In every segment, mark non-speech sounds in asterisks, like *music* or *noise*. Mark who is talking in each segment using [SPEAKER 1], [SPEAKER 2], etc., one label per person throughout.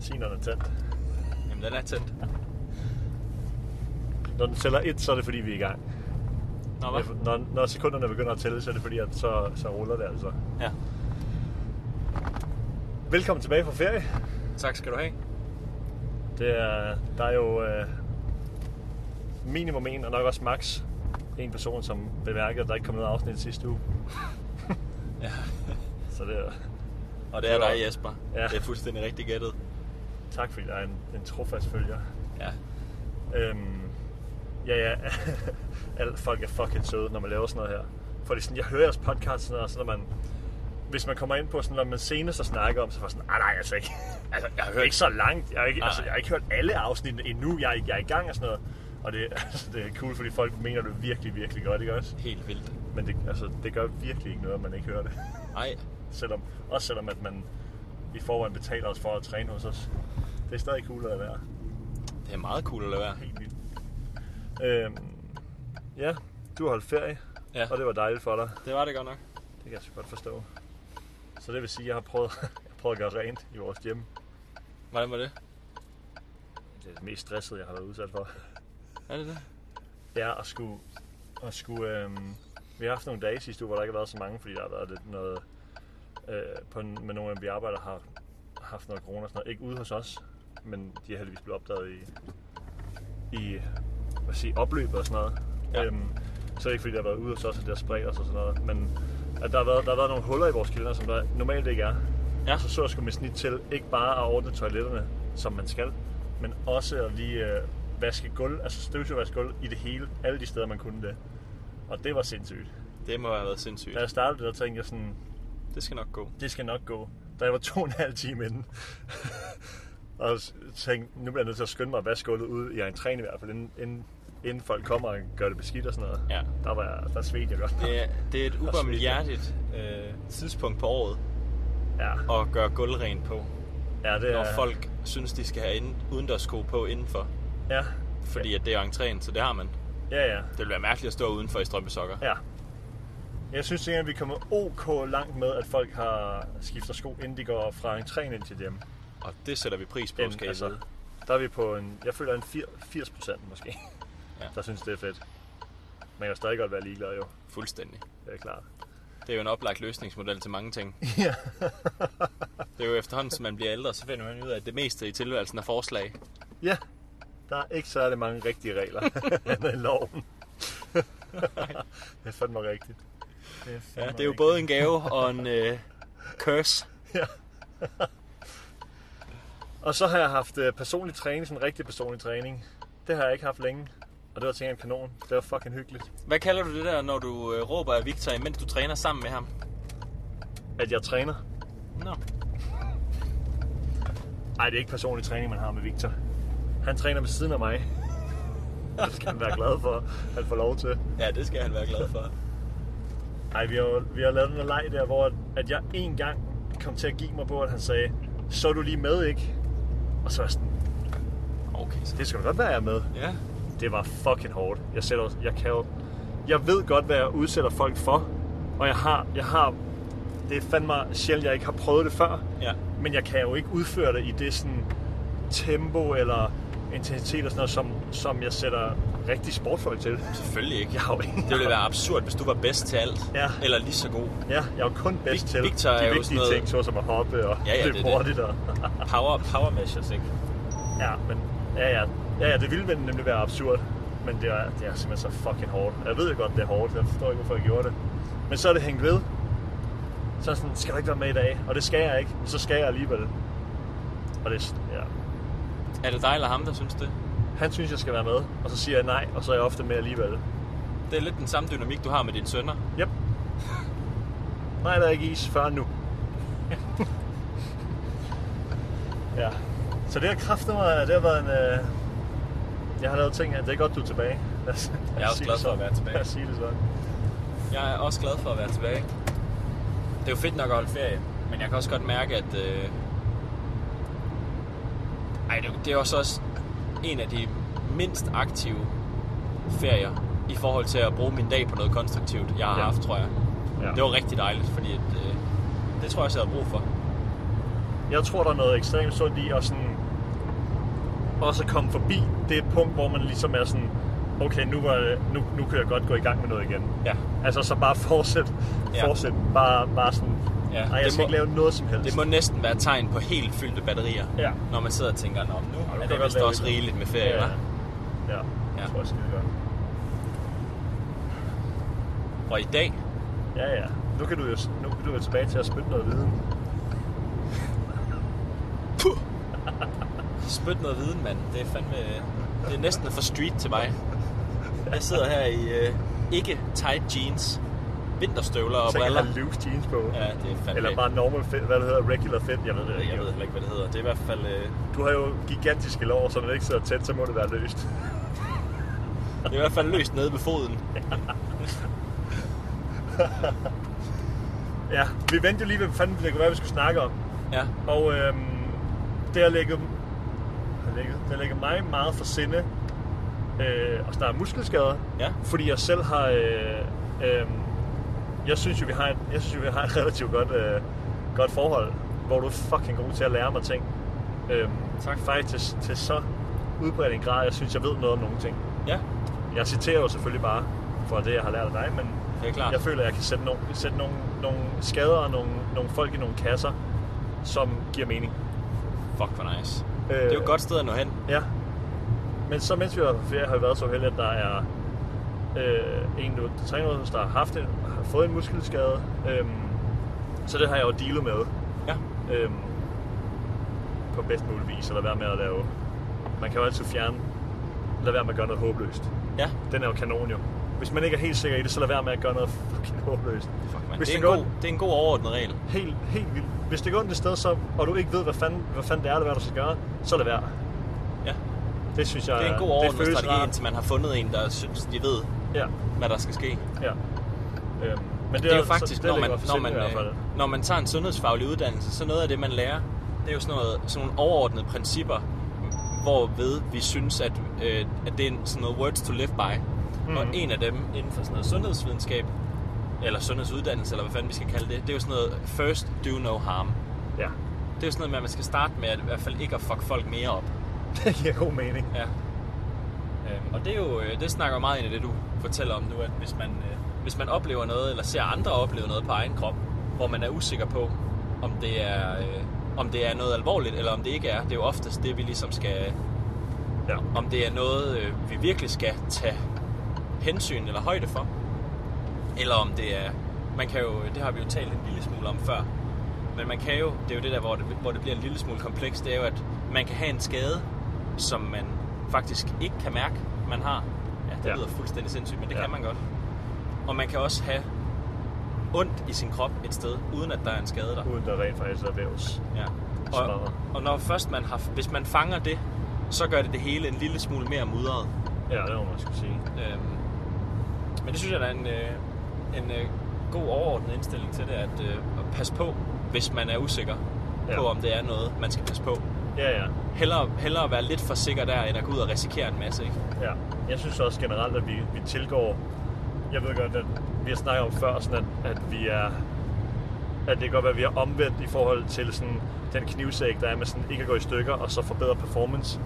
[SPEAKER 1] Tineren er tændt.
[SPEAKER 2] Jamen, den er tændt.
[SPEAKER 1] Når den tæller et, så er det fordi, vi er i gang.
[SPEAKER 2] Nå, hvad?
[SPEAKER 1] Når, når sekunderne begynder at tælle, så er det fordi, at så, så ruller det altså.
[SPEAKER 2] Ja.
[SPEAKER 1] Velkommen tilbage fra ferie.
[SPEAKER 2] Tak skal du have.
[SPEAKER 1] Det er, der er jo øh, minimum en, og nok også max en person, som bemærkede, at der ikke kom noget afsnit sidste uge. *laughs*
[SPEAKER 2] Ja.
[SPEAKER 1] Så det er,
[SPEAKER 2] *laughs* Og det er dig, Jesper.
[SPEAKER 1] Ja.
[SPEAKER 2] Ja. Det er fuldstændig rigtig gættet.
[SPEAKER 1] tak fordi der er en, en trofast følger.
[SPEAKER 2] Ja.
[SPEAKER 1] Øhm, ja, ja. *laughs* Alle folk er fucking søde, når man laver sådan noget her. For det er sådan, jeg hører jeres podcast sådan noget, og så når man... Hvis man kommer ind på sådan, når man senest har snakket om, så var sådan, nej, nej, altså ikke. *laughs* Altså, jeg har hørt ikke så langt. Jeg har ikke,
[SPEAKER 2] Nej.
[SPEAKER 1] altså, jeg har ikke hørt alle afsnittene endnu. Jeg er, ikke- jeg er i gang og sådan noget. Og det, *laughs* altså, det er cool, fordi folk mener det virkelig, virkelig godt, ikke også?
[SPEAKER 2] Helt vildt.
[SPEAKER 1] Men det, altså, det gør virkelig ikke noget, at man ikke hører det. *laughs*
[SPEAKER 2] Ej.
[SPEAKER 1] Selvom, også selvom, at man i forvejen betaler os for at træne hos os. Det er stadig cool at lade være.
[SPEAKER 2] Det er meget cool at lade være.
[SPEAKER 1] Helt vildt. Øhm, ja, du har holdt ferie,
[SPEAKER 2] Ja.
[SPEAKER 1] og det var dejligt for dig.
[SPEAKER 2] Det var det godt nok.
[SPEAKER 1] Det kan jeg så godt forstå. Så det vil sige, at jeg har prøvet, *laughs* jeg har prøvet at gøre rent i vores hjem.
[SPEAKER 2] Hvordan var det?
[SPEAKER 1] Det er det mest stressede, jeg har været udsat for.
[SPEAKER 2] Er det det?
[SPEAKER 1] Det er at skulle... At skulle øhm, vi har haft nogle dage sidste uge, hvor der ikke har været så mange, fordi der har været lidt noget... Øh, på, en- med nogle af vi arbejder har haft noget corona og sådan noget. Ikke ude hos os, men de er heldigvis blevet opdaget i, i hvad siger, opløbet og sådan noget. Ja.
[SPEAKER 2] Ja.
[SPEAKER 1] Øhm, så er det ikke fordi, der har været ude hos os, at det har spredt os og sådan noget. Men at der, har været, der har været nogle huller i vores kalender, som der normalt ikke er.
[SPEAKER 2] Ja.
[SPEAKER 1] Så så jeg sgu med snit til ikke bare at ordne toiletterne, som man skal, men også at lige øh, vaske gulv, altså støvsugervaske gulv i det hele, alle de steder, man kunne det. Og det var sindssygt.
[SPEAKER 2] Det må have været sindssygt.
[SPEAKER 1] Da jeg startede, der tænkte jeg sådan,
[SPEAKER 2] Det skal nok gå.
[SPEAKER 1] det skal nok gå. Da jeg var to og en halv time inden, *laughs* og s- tænkte, nu bliver jeg nødt til at skynde mig at vaske gulvet ud i entréen i hvert fald, inden, inden, inden folk kommer og gør det beskidt og sådan noget.
[SPEAKER 2] Ja.
[SPEAKER 1] Der, var jeg, der svedte jeg godt.
[SPEAKER 2] Det er, det er et
[SPEAKER 1] smidt.
[SPEAKER 2] ubarmhjertigt øh, tidspunkt på året
[SPEAKER 1] Ja,
[SPEAKER 2] at gøre gulvrent på.
[SPEAKER 1] ja det er...
[SPEAKER 2] Når folk synes, de skal have ind, udendørsko på indenfor.
[SPEAKER 1] Ja.
[SPEAKER 2] Fordi at det er entréen, så det har man.
[SPEAKER 1] Ja, ja.
[SPEAKER 2] Det ville være mærkeligt at stå udenfor i strømpesokker.
[SPEAKER 1] Ja. Jeg synes egentlig, at vi kommer ok langt med, at folk har skifter sko, inden de går fra entréen ind til dem. altså,
[SPEAKER 2] Og det sætter vi pris på, skal I vide.
[SPEAKER 1] der er vi på en, jeg føler en 80 80 procent måske, ja.
[SPEAKER 2] *laughs* Ja.
[SPEAKER 1] der synes, det er fedt. Man kan jo stadig godt være ligeglad jo,
[SPEAKER 2] Fuldstændig.
[SPEAKER 1] det er klart.
[SPEAKER 2] Det er jo en oplagt løsningsmodel til mange ting.
[SPEAKER 1] *laughs* Ja.
[SPEAKER 2] Det er jo efterhånden, som man bliver ældre, så finder man ud af, at det meste i tilværelsen er forslag.
[SPEAKER 1] ja, der er ikke særlig mange rigtige *laughs* regler andet end loven. *laughs* det er fandme rigtigt. Det er, fandme
[SPEAKER 2] Ja, det er jo
[SPEAKER 1] rigtigt.
[SPEAKER 2] både en gave
[SPEAKER 1] *laughs*
[SPEAKER 2] og en øh, curse.
[SPEAKER 1] Og så har jeg haft øh, personlig træning, sådan rigtig personlig træning. Det har jeg ikke haft længe, og det var til en kanon. Det var fucking hyggeligt.
[SPEAKER 2] Hvad kalder du det der, når du øh, råber af Victor, imens du træner sammen med ham?
[SPEAKER 1] At jeg træner.
[SPEAKER 2] Nå,
[SPEAKER 1] Nej, det er ikke personlig træning, man har med Victor. Han træner ved siden af mig. *laughs* Det skal han være glad for, han får lov til.
[SPEAKER 2] ja, det skal han være glad for.
[SPEAKER 1] Nej, vi har, jo- vi har lavet en leg der, hvor at, at jeg en gang kom til at give mig på, at han sagde, så er du lige med, ikke? Og så var jeg sådan,
[SPEAKER 2] Okay, så
[SPEAKER 1] det skal da godt være, jeg er med.
[SPEAKER 2] Ja,
[SPEAKER 1] Det var fucking hårdt. Jeg, sætter, jeg, kan jo, jeg ved godt, hvad jeg udsætter folk for, og jeg har, jeg har det er fandme sjældent, jeg ikke har prøvet det før.
[SPEAKER 2] ja,
[SPEAKER 1] Men jeg kan jo ikke udføre det i det sådan tempo eller intensitet og sådan noget, som, som jeg sætter rigtig sportfolk til. *laughs*
[SPEAKER 2] selvfølgelig ikke.
[SPEAKER 1] Jeg har jo ingen...
[SPEAKER 2] Det ville være absurd, hvis du var bedst til alt.
[SPEAKER 1] Ja.
[SPEAKER 2] Eller lige så god.
[SPEAKER 1] Ja, jeg er jo kun bedst
[SPEAKER 2] Vic-
[SPEAKER 1] til
[SPEAKER 2] Victor
[SPEAKER 1] de
[SPEAKER 2] er jo
[SPEAKER 1] vigtige
[SPEAKER 2] sådan noget-
[SPEAKER 1] ting, såsom at hoppe og
[SPEAKER 2] Ja, ja,
[SPEAKER 1] løbe
[SPEAKER 2] det er det.
[SPEAKER 1] hurtigt. Og... *laughs*
[SPEAKER 2] Power, power measures, ikke?
[SPEAKER 1] ja, men ja, ja, ja, ja, det ville vel nemlig være absurd. Men det er, det er simpelthen så fucking hårdt. Jeg ved jo godt, det er hårdt. Jeg forstår ikke, hvorfor jeg gjorde det. Men så er det hængt ved. Så er jeg sådan, skal du ikke være med i dag? Og det skal jeg ikke. Så skal jeg alligevel. Og det, er- ja,
[SPEAKER 2] Er det dig eller ham, der synes det?
[SPEAKER 1] han synes, jeg skal være med, og så siger jeg nej, og så er jeg ofte med alligevel.
[SPEAKER 2] Det er lidt den samme dynamik, du har med dine sønner.
[SPEAKER 1] Yep. nej, der er ikke is før nu. ja. Så det har kraftet mig, det har været en... Øh... Jeg har lavet ting her. Det er godt, du er tilbage. Lad os, lad
[SPEAKER 2] Jeg er
[SPEAKER 1] os
[SPEAKER 2] også
[SPEAKER 1] sige
[SPEAKER 2] glad
[SPEAKER 1] det
[SPEAKER 2] for at
[SPEAKER 1] sådan.
[SPEAKER 2] være tilbage.
[SPEAKER 1] Lad os sige det sådan.
[SPEAKER 2] Jeg er også glad for at være tilbage. Det er jo fedt nok at holde ferie, men jeg kan også godt mærke, at... Øh... Ej, det, det er også, også en af de mindst aktive ferier i forhold til at bruge min dag på noget konstruktivt, jeg har
[SPEAKER 1] Ja.
[SPEAKER 2] ja. haft, tror jeg.
[SPEAKER 1] Ja.
[SPEAKER 2] Det var rigtig dejligt, fordi at, øh, det tror jeg også, jeg havde brug for.
[SPEAKER 1] Jeg tror, der er noget ekstremt sundt i at sådan, også at komme forbi det punkt, hvor man ligesom er sådan, okay, nu, var, det- nu, nu kan jeg godt gå i gang med noget igen.
[SPEAKER 2] Ja.
[SPEAKER 1] Altså så bare fortsæt,
[SPEAKER 2] Ja.
[SPEAKER 1] fortsæt, bare, bare sådan,
[SPEAKER 2] Ja,
[SPEAKER 1] ja, ej,
[SPEAKER 2] det
[SPEAKER 1] jeg skal
[SPEAKER 2] må-
[SPEAKER 1] ikke lave noget som helst.
[SPEAKER 2] Det må næsten være et tegn på helt fyldte batterier,
[SPEAKER 1] Ja.
[SPEAKER 2] når man sidder og tænker, Nå, nu
[SPEAKER 1] kan
[SPEAKER 2] er det
[SPEAKER 1] godt
[SPEAKER 2] vist
[SPEAKER 1] være
[SPEAKER 2] også
[SPEAKER 1] lidt-
[SPEAKER 2] rigeligt med ferie,
[SPEAKER 1] ja,
[SPEAKER 2] hva'?
[SPEAKER 1] ja,
[SPEAKER 2] Ja.
[SPEAKER 1] det tror jeg skide godt.
[SPEAKER 2] Og i dag,
[SPEAKER 1] Ja, ja. Nu kan du jo nu kan du jo tilbage til at spytte noget viden.
[SPEAKER 2] spyt noget viden, mand. Det er fandme... Det er næsten for street til mig. Jeg sidder her i øh, ikke tight jeans, vinterstøvler og
[SPEAKER 1] Så kan
[SPEAKER 2] briller.
[SPEAKER 1] have loose jeans på.
[SPEAKER 2] Ja, det er fandme...
[SPEAKER 1] Eller bare normal fit, hvad det hedder, regular fit, jeg ved det ikke.
[SPEAKER 2] Jeg ved heller ikke, hvad det hedder. Det er i hvert fald... Øh,
[SPEAKER 1] Du har jo gigantiske lår, så når det ikke sidder tæt, så må det være løst.
[SPEAKER 2] Det er i hvert fald løst nede ved foden.
[SPEAKER 1] Ja, vi vendte jo lige, hvad fanden det kunne være, vi skulle snakke om.
[SPEAKER 2] Ja.
[SPEAKER 1] Og øhm, det har ligget, har ligget, det har ligget mig meget for sinde øh, at starte muskelskader.
[SPEAKER 2] Ja.
[SPEAKER 1] Fordi jeg selv har... Øh, øh, jeg synes jo, vi har, et, jeg synes jo, vi har et *laughs* relativt godt, øh, godt forhold, hvor du er fucking god til at lære mig ting. Øh,
[SPEAKER 2] Tak.
[SPEAKER 1] Faktisk til, til så udbredt en grad, jeg synes, jeg ved noget om nogle ting.
[SPEAKER 2] Ja,
[SPEAKER 1] Jeg citerer jo selvfølgelig bare for det, jeg har lært af dig, men
[SPEAKER 2] det er klart.
[SPEAKER 1] jeg føler, at jeg kan sætte nogle, sætte nogle, nogle skader og nogle, nogle folk i nogle kasser, som giver mening.
[SPEAKER 2] Fuck, hvor nice. Øh... Det er jo et godt sted at nå hen.
[SPEAKER 1] Ja. Men så mens vi har været på ferie, har vi været så heldige, at der er øh, en, du træner hos, der har, haft en, har fået en muskelskade. Øhm, så det har jeg jo dealet med
[SPEAKER 2] Ja.
[SPEAKER 1] øhm, på bedst mulig vis, eller være med at lave. Man kan jo altid fjerne, lade være med at gøre noget håbløst.
[SPEAKER 2] Ja.
[SPEAKER 1] Den er jo kanon jo. Hvis man ikke er helt sikker i det, så lad være med at gøre noget fucking håbløst.
[SPEAKER 2] Fuck, man.
[SPEAKER 1] Hvis
[SPEAKER 2] Det, er
[SPEAKER 1] det
[SPEAKER 2] en
[SPEAKER 1] går-
[SPEAKER 2] god, det er en god overordnet regel.
[SPEAKER 1] Helt, helt vildt. Hvis det går ondt et sted, så, og du ikke ved, hvad fanden, hvad fanden det er, hvad du skal gøre, så lad være.
[SPEAKER 2] Ja.
[SPEAKER 1] Det synes jeg
[SPEAKER 2] Det er en god
[SPEAKER 1] det
[SPEAKER 2] overordnet
[SPEAKER 1] føles
[SPEAKER 2] strategi,
[SPEAKER 1] rart.
[SPEAKER 2] indtil man har fundet en, der synes, de ved,
[SPEAKER 1] Ja,
[SPEAKER 2] hvad der skal ske.
[SPEAKER 1] ja. Øhm, men det,
[SPEAKER 2] Det er jo
[SPEAKER 1] så-
[SPEAKER 2] faktisk,
[SPEAKER 1] det
[SPEAKER 2] når man,
[SPEAKER 1] ligger for
[SPEAKER 2] når,
[SPEAKER 1] sinde
[SPEAKER 2] man,
[SPEAKER 1] i hvert fald.
[SPEAKER 2] øh, når man tager en sundhedsfaglig uddannelse, så noget af det, man lærer, det er jo sådan, noget, sådan nogle overordnede principper, hvorved vi synes, at, øh, at det er en- sådan noget words to live by. Mm. Og
[SPEAKER 1] Mhm.
[SPEAKER 2] en af dem inden for sådan noget sundhedsvidenskab, eller sundhedsuddannelse, eller hvad fanden vi skal kalde det, det er jo sådan noget first do no harm.
[SPEAKER 1] Ja,
[SPEAKER 2] Det er jo sådan noget med, at man skal starte med at, i hvert fald ikke at fuck folk mere op.
[SPEAKER 1] *laughs* det giver god mening.
[SPEAKER 2] Ja. Øhm, og det er jo, øh, det snakker jo meget ind i det, du fortæller om nu, at hvis man, øh, hvis man oplever noget, eller ser andre opleve noget på egen krop, hvor man er usikker på, om det er, øh, om det er noget alvorligt, eller om det ikke er. Det er jo oftest det, vi ligesom skal,
[SPEAKER 1] Ja.
[SPEAKER 2] om det er noget, øh, vi virkelig skal tage hensyn eller højde for. Eller om det er, man kan jo, det har vi jo talt en lille smule om før, men man kan jo, det er jo det der, hvor det, hvor det bliver en lille smule komplekst, det er jo, at man kan have en skade, som man faktisk ikke kan mærke, man har. Ja, det
[SPEAKER 1] Ja.
[SPEAKER 2] ja. lyder fuldstændig sindssygt, men det
[SPEAKER 1] Ja.
[SPEAKER 2] ja. kan man godt. Og man kan også have ondt i sin krop et sted, uden at der er en skade der.
[SPEAKER 1] Uden der rent faktisk er vævs.
[SPEAKER 2] Ja.
[SPEAKER 1] Smadret.
[SPEAKER 2] Og, og når først man har, hvis man fanger det, så gør det det hele en lille smule mere mudret.
[SPEAKER 1] Ja, det må man skulle sige.
[SPEAKER 2] Øhm, men det synes jeg der er en, øh, en øh, god overordnet indstilling til det, at, øh, at passe på, hvis man er usikker
[SPEAKER 1] Ja.
[SPEAKER 2] ja. på, om det er noget, man skal passe på.
[SPEAKER 1] Ja, ja.
[SPEAKER 2] Hellere, hellere være lidt for sikker der, end at gå ud og risikere en masse, ikke?
[SPEAKER 1] Ja, jeg synes også generelt, at vi, vi tilgår... Jeg ved godt, at vi har snakket om før, sådan at, at vi er... At det kan godt være, at vi er omvendt i forhold til sådan, den knivsæk, der er med sådan, ikke at gå i stykker, og så forbedre performance.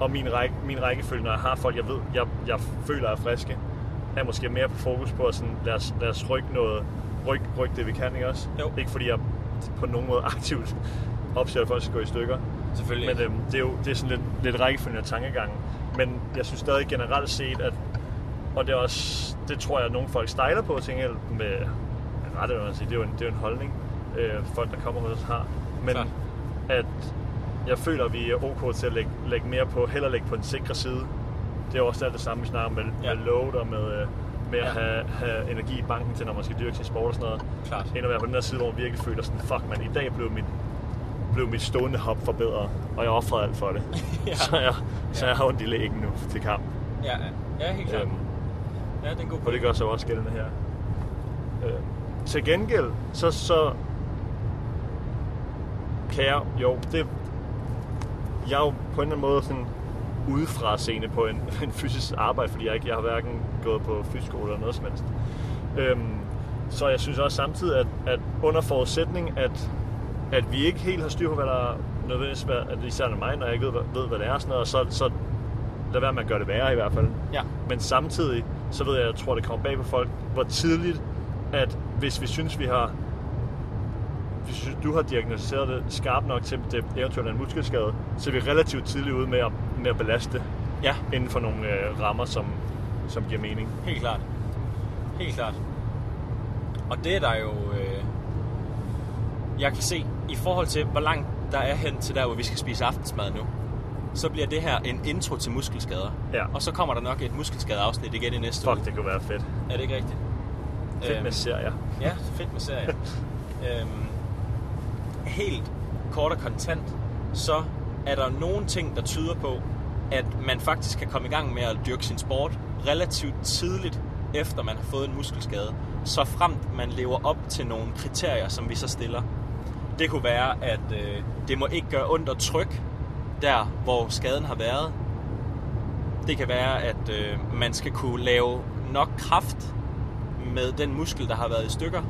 [SPEAKER 1] Og min, række, min rækkefølge, når jeg har folk, jeg ved, jeg, jeg føler er friske, er måske mere på fokus på at sådan, lad, os, lad os rykke noget, ryk, ryk det vi kan, ikke også?
[SPEAKER 2] Jo.
[SPEAKER 1] Ikke fordi jeg på nogen måde *laughs* aktivt opsætter at folk skal gå i stykker,
[SPEAKER 2] Selvfølgelig
[SPEAKER 1] men
[SPEAKER 2] ikke.
[SPEAKER 1] øhm, det er jo det er sådan lidt, lidt rækkefølgende tankegang. Men jeg synes stadig generelt set, at, og det er også, det tror jeg, at nogle folk stejler på, tænker jeg, med med rette, vil man sige, det er jo en, det er jo en holdning, øh, folk der kommer hos os har. Men
[SPEAKER 2] Klart.
[SPEAKER 1] at jeg føler, at vi er ok til at lægge, lægge mere på, heller lægge på den sikre side. Det er jo også alt det samme, vi snakker om med, ja.
[SPEAKER 2] Ja.
[SPEAKER 1] med load og med, øh, med at
[SPEAKER 2] Ja.
[SPEAKER 1] have, have, energi i banken til, når man skal dyrke sin sport og sådan noget
[SPEAKER 2] Klart.
[SPEAKER 1] end at være på den der side, hvor man virkelig føler sådan, fuck man, i dag blev mit, blev mit stående hop forbedret, og jeg offrede alt for det.
[SPEAKER 2] *laughs* Ja.
[SPEAKER 1] Så, jeg, så jeg har ondt i lægen nu til kamp.
[SPEAKER 2] Ja, ja. ja, helt klart.
[SPEAKER 1] Øhm,
[SPEAKER 2] ja, det er en god
[SPEAKER 1] og det
[SPEAKER 2] pointe.
[SPEAKER 1] gør sig jo også gældende her. Øhm, til gengæld, så, så kan jeg, jo, det, jeg er jo på en eller anden måde sådan udefra seende på en, *laughs* en fysisk arbejde, fordi jeg, ikke, jeg har hverken gået på fysiskole eller noget som helst. Øhm, så jeg synes også samtidig, at, at under forudsætning, at, at vi ikke helt har styr på, hvad der er nødvendigvis, hvad, at især når mig, når jeg ikke ved, hvad, ved, hvad det er, og sådan noget, og så, så lad være med at gøre det værre i hvert fald.
[SPEAKER 2] Ja.
[SPEAKER 1] Men samtidig, så ved jeg, jeg tror, det kommer bag på folk, hvor tidligt, at hvis vi synes, vi har hvis synes, du har diagnosticeret det skarpt nok til, at det eventuelt er en muskelskade, så er vi relativt tidligt ude med at, med at belaste det
[SPEAKER 2] Ja,
[SPEAKER 1] inden for nogle øh, rammer, som, som giver mening.
[SPEAKER 2] helt klart. Helt klart. Og det er der jo... Øh, jeg kan se, i forhold til, hvor langt der er hen til der, hvor vi skal spise aftensmad nu, så bliver det her en intro til muskelskader.
[SPEAKER 1] Ja.
[SPEAKER 2] Og så kommer der nok et muskelskadeafsnit igen i næste uge.
[SPEAKER 1] Fuck, det kunne være fedt.
[SPEAKER 2] Er det ikke rigtigt?
[SPEAKER 1] Fedt med
[SPEAKER 2] Øhm,
[SPEAKER 1] serier.
[SPEAKER 2] Ja, fedt med serier. øhm, helt kort og kontant, så er der nogle ting, der tyder på, at man faktisk kan komme i gang med at dyrke sin sport relativt tidligt, efter man har fået en muskelskade, så fremt man lever op til nogle kriterier, som vi så stiller. Det kunne være, at øh, det må ikke gøre ondt at trykke der, hvor skaden har været. Det kan være, at øh, man skal kunne lave nok kraft med den muskel, der har været i stykker.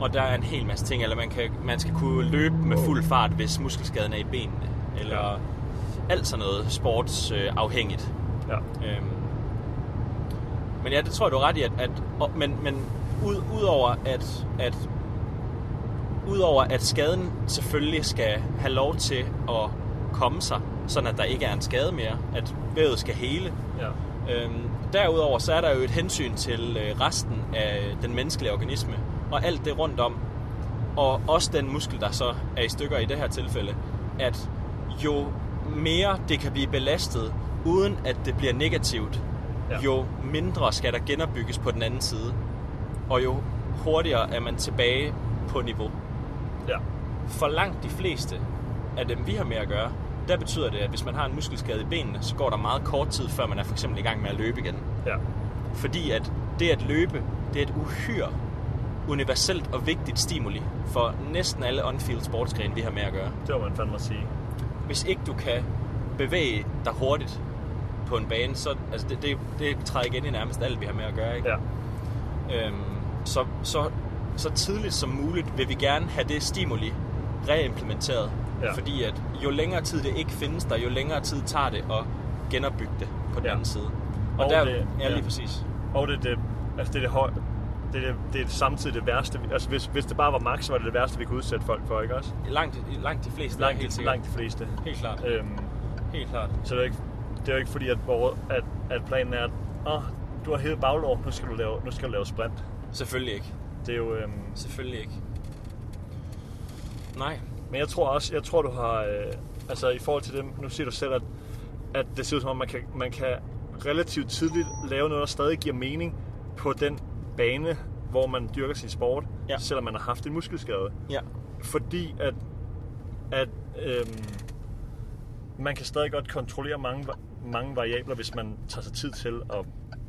[SPEAKER 2] Og der er en hel masse ting. Eller man, kan, man skal kunne løbe med fuld fart, hvis muskelskaden er i benene. Eller
[SPEAKER 1] Ja.
[SPEAKER 2] alt sådan noget sportsafhængigt.
[SPEAKER 1] Ja.
[SPEAKER 2] Øhm. Men ja, det tror jeg, du har ret i, at, at og, men, men ud, udover at, at udover at skaden selvfølgelig skal have lov til at komme sig, sådan at der ikke er en skade mere, at vævet skal hele.
[SPEAKER 1] ja.
[SPEAKER 2] Øhm, derudover så er der jo et hensyn til øh, resten af den menneskelige organisme, og alt det rundt om, og også den muskel, der så er i stykker i det her tilfælde, at jo mere det kan blive belastet, uden at det bliver negativt,
[SPEAKER 1] Ja.
[SPEAKER 2] ja. jo mindre skal der genopbygges på den anden side, og jo hurtigere er man tilbage på niveau.
[SPEAKER 1] Ja.
[SPEAKER 2] For langt de fleste af dem, vi har med at gøre, der betyder det, at hvis man har en muskelskade i benene, så går der meget kort tid, før man er for eksempel i gang med at løbe igen.
[SPEAKER 1] Ja.
[SPEAKER 2] Fordi at det at løbe, det er et uhyre universelt og vigtigt stimuli for næsten alle on-field sportsgrene, vi har med at gøre.
[SPEAKER 1] Det må man fandme sige.
[SPEAKER 2] Hvis ikke du kan bevæge dig hurtigt på en bane, så altså det, det, det træder igen i nærmest alt, vi har med at gøre. Ikke?
[SPEAKER 1] Ja.
[SPEAKER 2] Øhm, så, så, så tidligt som muligt vil vi gerne have det stimuli reimplementeret.
[SPEAKER 1] Ja.
[SPEAKER 2] Fordi at jo længere tid det ikke findes der, jo længere tid tager det at genopbygge det på den
[SPEAKER 1] Ja.
[SPEAKER 2] anden side. Og,
[SPEAKER 1] Og
[SPEAKER 2] der,
[SPEAKER 1] det-
[SPEAKER 2] ja, lige
[SPEAKER 1] ja.
[SPEAKER 2] præcis.
[SPEAKER 1] Og det er det, altså det, er det, høj, det, er det, det er samtidig det værste. vi- Altså hvis, hvis det bare var max, så var det det værste, vi kunne udsætte folk for, ikke også?
[SPEAKER 2] Langt, langt de
[SPEAKER 1] Langt,
[SPEAKER 2] fleste, langt, helt sikkert.
[SPEAKER 1] langt de fleste.
[SPEAKER 2] Helt klart.
[SPEAKER 1] Øhm,
[SPEAKER 2] Helt klart.
[SPEAKER 1] så det er jo ikke, det er jo ikke fordi, at, borger, at, at planen er, at oh, du har hævet baglov, nu skal du lave, nu skal du lave sprint.
[SPEAKER 2] Selvfølgelig ikke.
[SPEAKER 1] Det er jo, øhm,
[SPEAKER 2] Selvfølgelig ikke. Nej.
[SPEAKER 1] Men jeg tror også, jeg tror du har, øh, altså i forhold til det, nu siger du selv, at, at det ser ud som om, man kan, man kan relativt tidligt lave noget, der stadig giver mening på den bane, hvor man dyrker sin sport,
[SPEAKER 2] Ja.
[SPEAKER 1] selvom man har haft en muskelskade.
[SPEAKER 2] Ja.
[SPEAKER 1] Fordi at, at øhm, man kan stadig godt kontrollere mange, va- mange variabler, hvis man tager sig tid til at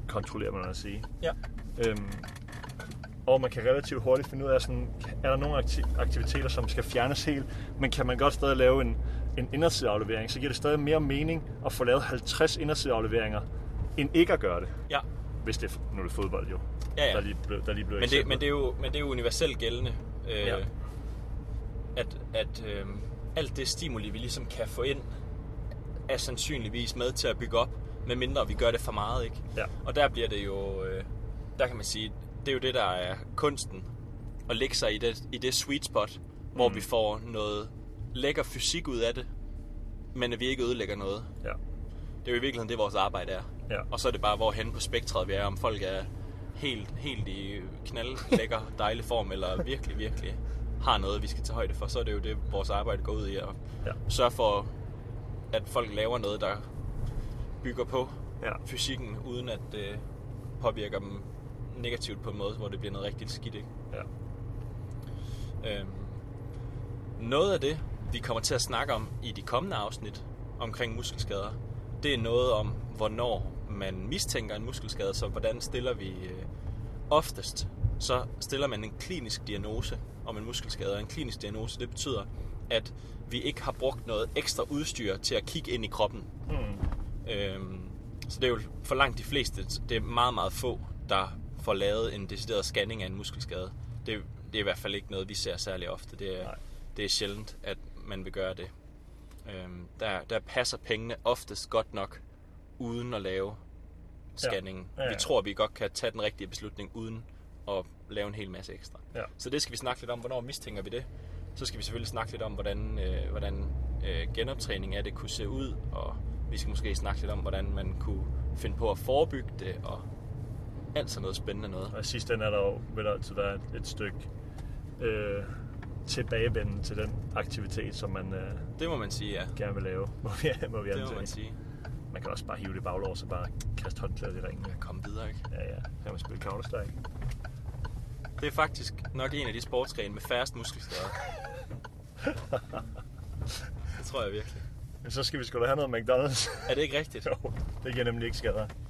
[SPEAKER 1] kontrollere, hvad man vil sige.
[SPEAKER 2] Ja.
[SPEAKER 1] Øhm, og man kan relativt hurtigt finde ud af, sådan, er der nogle akti- aktiviteter, som skal fjernes helt, men kan man godt stadig lave en, en indersideaflevering, så giver det stadig mere mening at få lavet 50 indersideafleveringer, end ikke at gøre det.
[SPEAKER 2] Ja.
[SPEAKER 1] Hvis det er, nu er det fodbold jo,
[SPEAKER 2] Ja, ja.
[SPEAKER 1] Der, lige blev, der lige blev
[SPEAKER 2] Men det,
[SPEAKER 1] eksemplet.
[SPEAKER 2] men, det er jo, men det er jo universelt gældende, øh,
[SPEAKER 1] Ja.
[SPEAKER 2] ja. at, at øh, alt det stimuli, vi ligesom kan få ind, er sandsynligvis med til at bygge op, medmindre vi gør det for meget, ikke?
[SPEAKER 1] Ja.
[SPEAKER 2] Og der bliver det jo, øh, der kan man sige, det er jo det, der er kunsten, at lægge sig i det, i det sweet spot, hvor
[SPEAKER 1] Mm.
[SPEAKER 2] vi får noget lækker fysik ud af det, men at vi ikke ødelægger noget.
[SPEAKER 1] Ja,
[SPEAKER 2] Det er jo i virkeligheden det, vores arbejde er.
[SPEAKER 1] Ja.
[SPEAKER 2] Og så er det bare, hvorhen på spektret vi er, om folk er helt, helt i knaldlækker, dejlig form, eller virkelig, virkelig har noget, vi skal tage højde for, så er det jo det, vores arbejde går ud i, at
[SPEAKER 1] Ja.
[SPEAKER 2] sørge for, at folk laver noget, der bygger på
[SPEAKER 1] Ja.
[SPEAKER 2] fysikken, uden at det påvirker dem negativt på en måde, hvor det bliver noget rigtig skidt. Ikke?
[SPEAKER 1] ja,
[SPEAKER 2] Øhm, noget af det, vi kommer til at snakke om i de kommende afsnit omkring muskelskader, det er noget om, hvornår man mistænker en muskelskade, så hvordan stiller vi øh, oftest, så stiller man en klinisk diagnose om en muskelskade. Og en klinisk diagnose, det betyder, at vi ikke har brugt noget ekstra udstyr til at kigge ind i kroppen.
[SPEAKER 1] mm.
[SPEAKER 2] Øhm, så det er jo for langt de fleste, det er meget, meget få, der får lavet en decideret scanning af en muskelskade. Det, det er i hvert fald ikke noget, vi ser særlig ofte. Det er,
[SPEAKER 1] Nej.
[SPEAKER 2] det er sjældent, at man vil gøre det. Øhm, der, der passer pengene oftest godt nok, uden at lave scanningen.
[SPEAKER 1] Ja,
[SPEAKER 2] Ja. Ja,
[SPEAKER 1] ja.
[SPEAKER 2] ja. Vi tror, vi godt kan tage den rigtige beslutning, uden at lave en hel masse ekstra.
[SPEAKER 1] Ja.
[SPEAKER 2] Så det skal vi snakke lidt om, hvornår mistænker vi det. Så skal vi selvfølgelig snakke lidt om, hvordan, øh, hvordan øh, genoptræning af det kunne se ud, og vi skal måske snakke lidt om, hvordan man kunne finde på at forebygge det, og alt sådan noget spændende noget.
[SPEAKER 1] Og i sidste ende er der jo, vil der altid være et, et stykke øh, tilbagevenden til den aktivitet, som man øh,
[SPEAKER 2] Det må man sige, ja.
[SPEAKER 1] gerne vil lave, *laughs* må vi, må vi
[SPEAKER 2] Det må man
[SPEAKER 1] antage.
[SPEAKER 2] sige.
[SPEAKER 1] Man kan også bare hive det baglov, og bare kaste håndklædet i ringen.
[SPEAKER 2] Jeg kom videre, ikke?
[SPEAKER 1] Ja, ja. Kan man spille
[SPEAKER 2] *laughs*
[SPEAKER 1] Counter-Strike?
[SPEAKER 2] Det er faktisk nok en af de sportsgrene med færrest muskelskader. det tror jeg virkelig.
[SPEAKER 1] Men *laughs* så skal vi sgu da have noget McDonald's.
[SPEAKER 2] Er det ikke
[SPEAKER 1] *laughs*
[SPEAKER 2] rigtigt?
[SPEAKER 1] jo, det kan nemlig ikke skader.